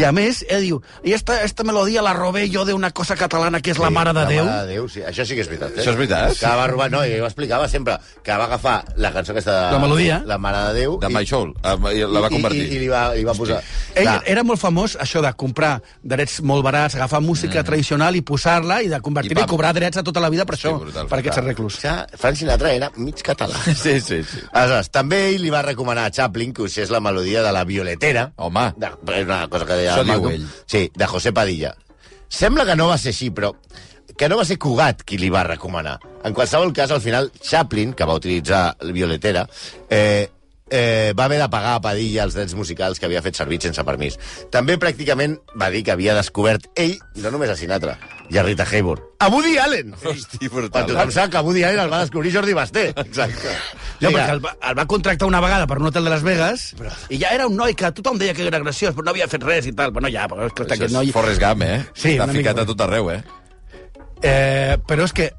D: I a més, ell diu, i esta, esta melodia la robé jo d'una cosa catalana que és la Mare de
C: La
D: Déu.
C: Mare de Déu, sí. Això sí que és veritat. Eh?
B: Això és veritat?
C: Que va robar, no, i ho explicava sempre, que va agafar la cançó aquesta... De,
D: La melodia.
C: La Mare de Déu.
B: De
C: i-
B: My Soul. Ah, i La va
C: i-
B: convertir.
C: I, i, i li, va, li va posar...
D: Ell
C: Clar.
D: era molt famós, això de comprar drets molt barats, agafar música mm. tradicional i posar-la i de
B: I
D: convertir-la
B: pam.
D: i, cobrar drets a tota la vida per això,
B: brutal,
D: per aquest
B: clar.
D: ser reclús.
C: O sigui, Frank Sinatra era mig català.
B: Sí, sí, sí.
C: Aleshores, també ell li va recomanar a Chaplin que usés la melodia de la violetera.
B: Home.
C: De, és una cosa que deia...
B: Això
C: el
B: diu
C: Malcolm.
B: ell.
C: Sí, de José Padilla. Sembla que no va ser així, però que no va ser Cugat qui li va recomanar. En qualsevol cas, al final, Chaplin, que va utilitzar la violetera, eh, eh, va haver de pagar a Padilla els drets musicals que havia fet servir sense permís. També pràcticament va dir que havia descobert ell, no només a Sinatra, i a Rita Hayworth. A Woody Allen!
B: Hosti,
C: Quan
D: Doncs
B: brutal.
C: tothom sap que Woody Allen el va descobrir Jordi Basté.
B: Exacte.
D: No, perquè el va, el va contractar una vegada per un hotel de Las Vegas i ja era un noi que tothom deia que era graciós, però no havia fet res i tal. Bueno, ja, però, escolta,
B: Això
D: aquest
B: és
D: noi...
B: Forrest Gump, eh?
D: Sí,
B: T'ha
D: una mica
B: ficat a
D: Forrest.
B: tot arreu, eh?
D: Eh, però és que,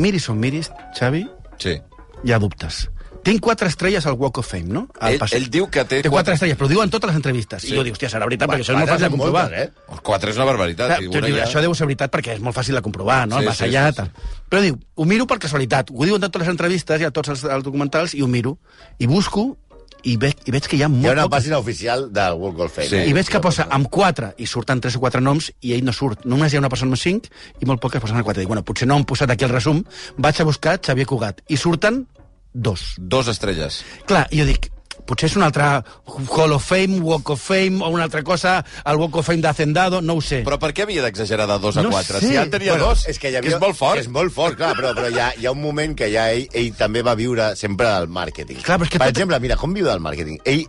D: miris on miris, Xavi,
B: Sí.
D: hi ha dubtes. Tinc quatre estrelles al Walk of Fame, no? Al
B: Ell-
D: passeig.
B: ell diu que té
D: té
B: quatre-
D: quatre estrelles, però ho diu en totes les entrevistes.
B: Sí.
D: I jo dic, hòstia, serà veritat, perquè això és
C: Quatre
D: molt fàcil de
C: són
D: comprovar.
C: moltes, eh?
B: Els quatre és una barbaritat.
D: Clar,
B: i
D: jo
B: una
D: diu,
B: ja-
D: això deu ser veritat perquè és molt fàcil de comprovar, no?
B: Sí,
D: Sí,
B: sí,
D: massa allà,
B: sí, sí.
D: tal. Però diu, ho miro perquè és veritat. Ho diuen en totes les entrevistes i a tots els, els documentals i ho miro. I busco i, veig, i veig que hi ha
C: Hi
D: molt
C: ha una
D: poc-
C: pàgina oficial del World Golf Fame.
B: Sí.
C: eh?
D: I veig que posa amb quatre, i surten tres o quatre noms, i ell no surt. Només hi ha una persona amb cinc, i molt poques persones amb quatre. Dic, bueno, potser no han posat aquí el resum. Vaig a buscar Xavier Cugat. I surten dos.
B: Dos estrelles.
D: Clar, i jo dic, potser és una altra Hall of Fame, Walk of Fame, o una altra cosa, el Walk of Fame d'Hacendado, no ho sé.
B: Però per què havia d'exagerar de dos a
D: No
B: quatre?
D: sé.
B: Si ja en tenia
C: Bueno,
B: dos,
C: és que, hi havia...
B: que és molt fort.
C: És molt fort, clar, però, però hi, ha, hi ha un moment que ja ell, ell també va viure sempre del màrqueting.
D: Clar, però és que
C: per
D: tot-
C: exemple, mira, com viu del màrqueting? Ell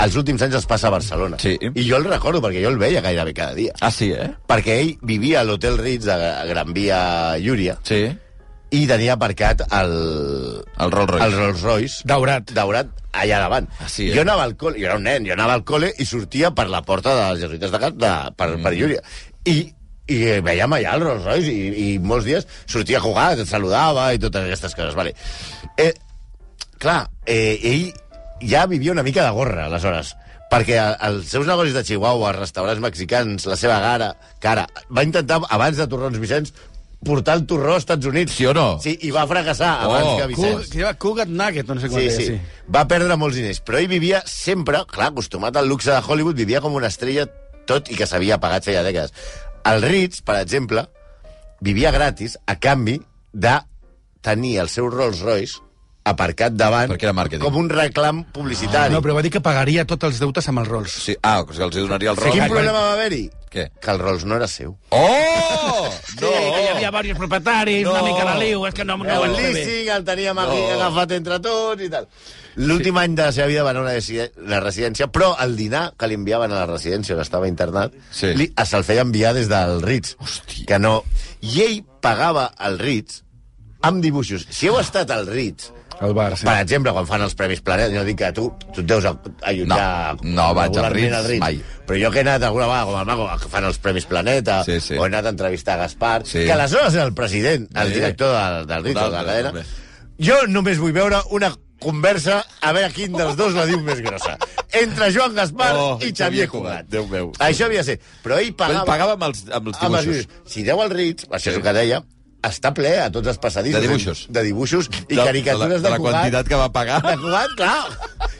C: els últims anys els passa a Barcelona.
B: Sí.
C: I jo el recordo, perquè jo el veia gairebé cada dia.
B: Ah, sí, eh?
C: Perquè ell vivia a l'Hotel Ritz de Gran Via Llúria
B: Sí.
C: i tenia aparcat el...
B: El Rolls Royce.
C: El Rolls Royce
D: Daurat.
C: daurat allà davant.
B: Ah, sí, eh?
C: Jo anava al col·le, jo era un nen, jo anava al col·le i sortia per la porta dels jesuïtes de Gat, de, per, mm. per Llúria. I, i veiem allà el Rolls Royce i, i molts dies sortia a jugar, et saludava i totes aquestes coses. Vale. Eh, clar, eh, ell ja vivia una mica de gorra, aleshores perquè a- als seus negocis de Chihuahua, als restaurants mexicans, la seva gara, cara, va intentar, abans de Torrons Vicenç, portar el torró als Estats Units.
B: Sí o no?
C: Sí, i va fracassar abans
B: Oh,
C: que Vicenç.
D: Que lleva Cougat Nugget, no sé com
C: Sí,
D: es deia,
C: sí. Va perdre molts diners, però ell vivia sempre, clar, acostumat al luxe de Hollywood, vivia com una estrella, tot i que s'havia pagat feia dècades. El Ritz, per exemple, vivia gratis a canvi de tenir el seu Rolls Royce aparcat davant
B: Perquè era màrqueting.
C: com un reclam publicitari.
D: Ah, No, però va dir que pagaria tots els deutes amb els Rolls.
B: Sí. Ah, o sigui, els hi donaria el
C: Quin
B: rock.
C: problema va haver-hi?
B: Què?
C: Que el Rolls no era seu.
B: Oh!
D: Sí, que hi havia
B: No!
D: diversos propietaris,
B: No.
D: una mica la liu, és que no, no ho
C: el
D: vaig fer bé.
C: leasing el teníem aquí
B: No.
C: agafat entre tots i tal. L'últim any de la seva vida va anar a una residen- la residència, però el dinar que li enviaven a la residència on estava internat
B: Sí.
C: li, se'l feia enviar des del Ritz.
B: Hòstia.
C: Que no... I ell pagava el Ritz amb dibuixos. Si heu estat al Ritz,
D: El bar, sí.
C: per exemple, quan fan els Premis Planet, jo dic que tu, tu et deus allotjar...
B: No, no vaig al
C: regularment
B: Ritz, mai.
C: Però jo que he anat alguna vegada, com el Mago, que fan els Premis Planeta,
B: Sí, sí.
C: o he anat a entrevistar a Gaspar,
B: Sí.
C: que aleshores era el president, el
B: Sí.
C: director del, del Ritz, o de la
B: Total,
C: cadena.
B: hombre.
C: Jo només vull veure una conversa a veure quin dels dos la diu més grossa. Entre Joan Gaspar
B: Oh,
C: i Xavier Cugat.
B: Déu meu.
C: Això havia de ser. Però ell
B: Però
C: pagava... Ah,
B: ell pagava amb els- amb els
C: amb els
B: dibuixos.
C: dibuixos. Si deu al Ritz, això és el que deia, està ple a tots els passadissos.
B: De dibuixos.
C: De dibuixos i
B: De-
C: caricatures de,
B: de la- de la
C: Cugat.
B: quantitat que va pagar.
C: De Cugat, clar.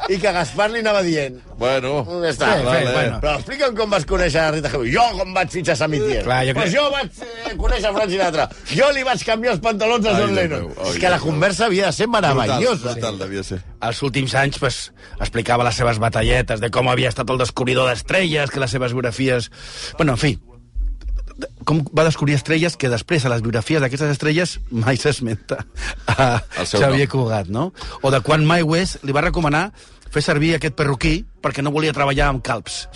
C: I que Gaspar li anava dient...
B: Bueno,
C: "Mm, Està,
D: Sí,
C: vale.
D: sí, bueno.
C: Però explica'm com vas conèixer a Rita Hayworth. Jo com vaig fitxar Sammy Tier.
D: Clar, jo
C: jo,
D: crec-
C: jo vaig eh, conèixer Frank Sinatra. Jo li vaig canviar els pantalons a
B: Ai,
C: John
B: Déu
C: Lennon.
B: meu, ai,
C: És que la
B: Déu meu.
C: conversa havia de ser meravellosa.
B: Brutal, brutal, devia ser.
D: els últims anys pues, explicava les seves batalletes de com havia estat el descobridor d'estrelles, que les seves biografies... Bueno, en fi, com va descobrir estrelles que després a les biografies d'aquestes estrelles mai s'esmenta a
B: El seu
D: Xavier
B: nom.
D: Cugat, no? O de quan Mai West li va recomanar fer servir aquest perruquí perquè no volia treballar amb calps.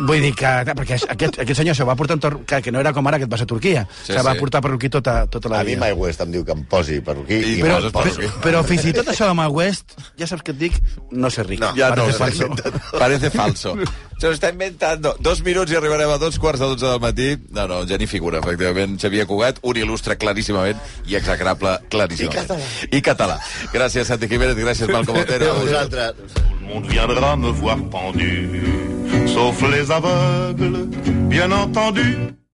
D: Vull dir que... Perquè aquest, aquest senyor se va portar... un tor- Que, que no era com ara que et vas a Turquia.
B: Sí,
D: Sí, se va
B: sí.
D: portar perruquí tota, tota la
C: A mi
D: vida
C: Mai West em diu que em posi per aquí i,
B: I-
C: i
B: però-
C: però,
B: Coses
C: me'l
B: per
C: poso.
B: aquí.
D: però fins i tot això de Mal West, ja saps que et dic, no sé ric.
C: No,
B: Ya no,
D: Parece
B: se lo
D: falso.
B: inventa- parece falso. Se lo está inventando. Dos minuts i arribarem a dos quarts de dotze del matí. No, no, ja ni figura, efectivament. Xavier Cugat, un il·lustre claríssimament i execrable claríssimament. I català. I català. Gràcies, Santi Jiménez, gràcies, Malcom
C: Però
B: Otero.
C: a vosaltres...
A: On viendra me voir pendu, sauf les aveugles, bien entendu.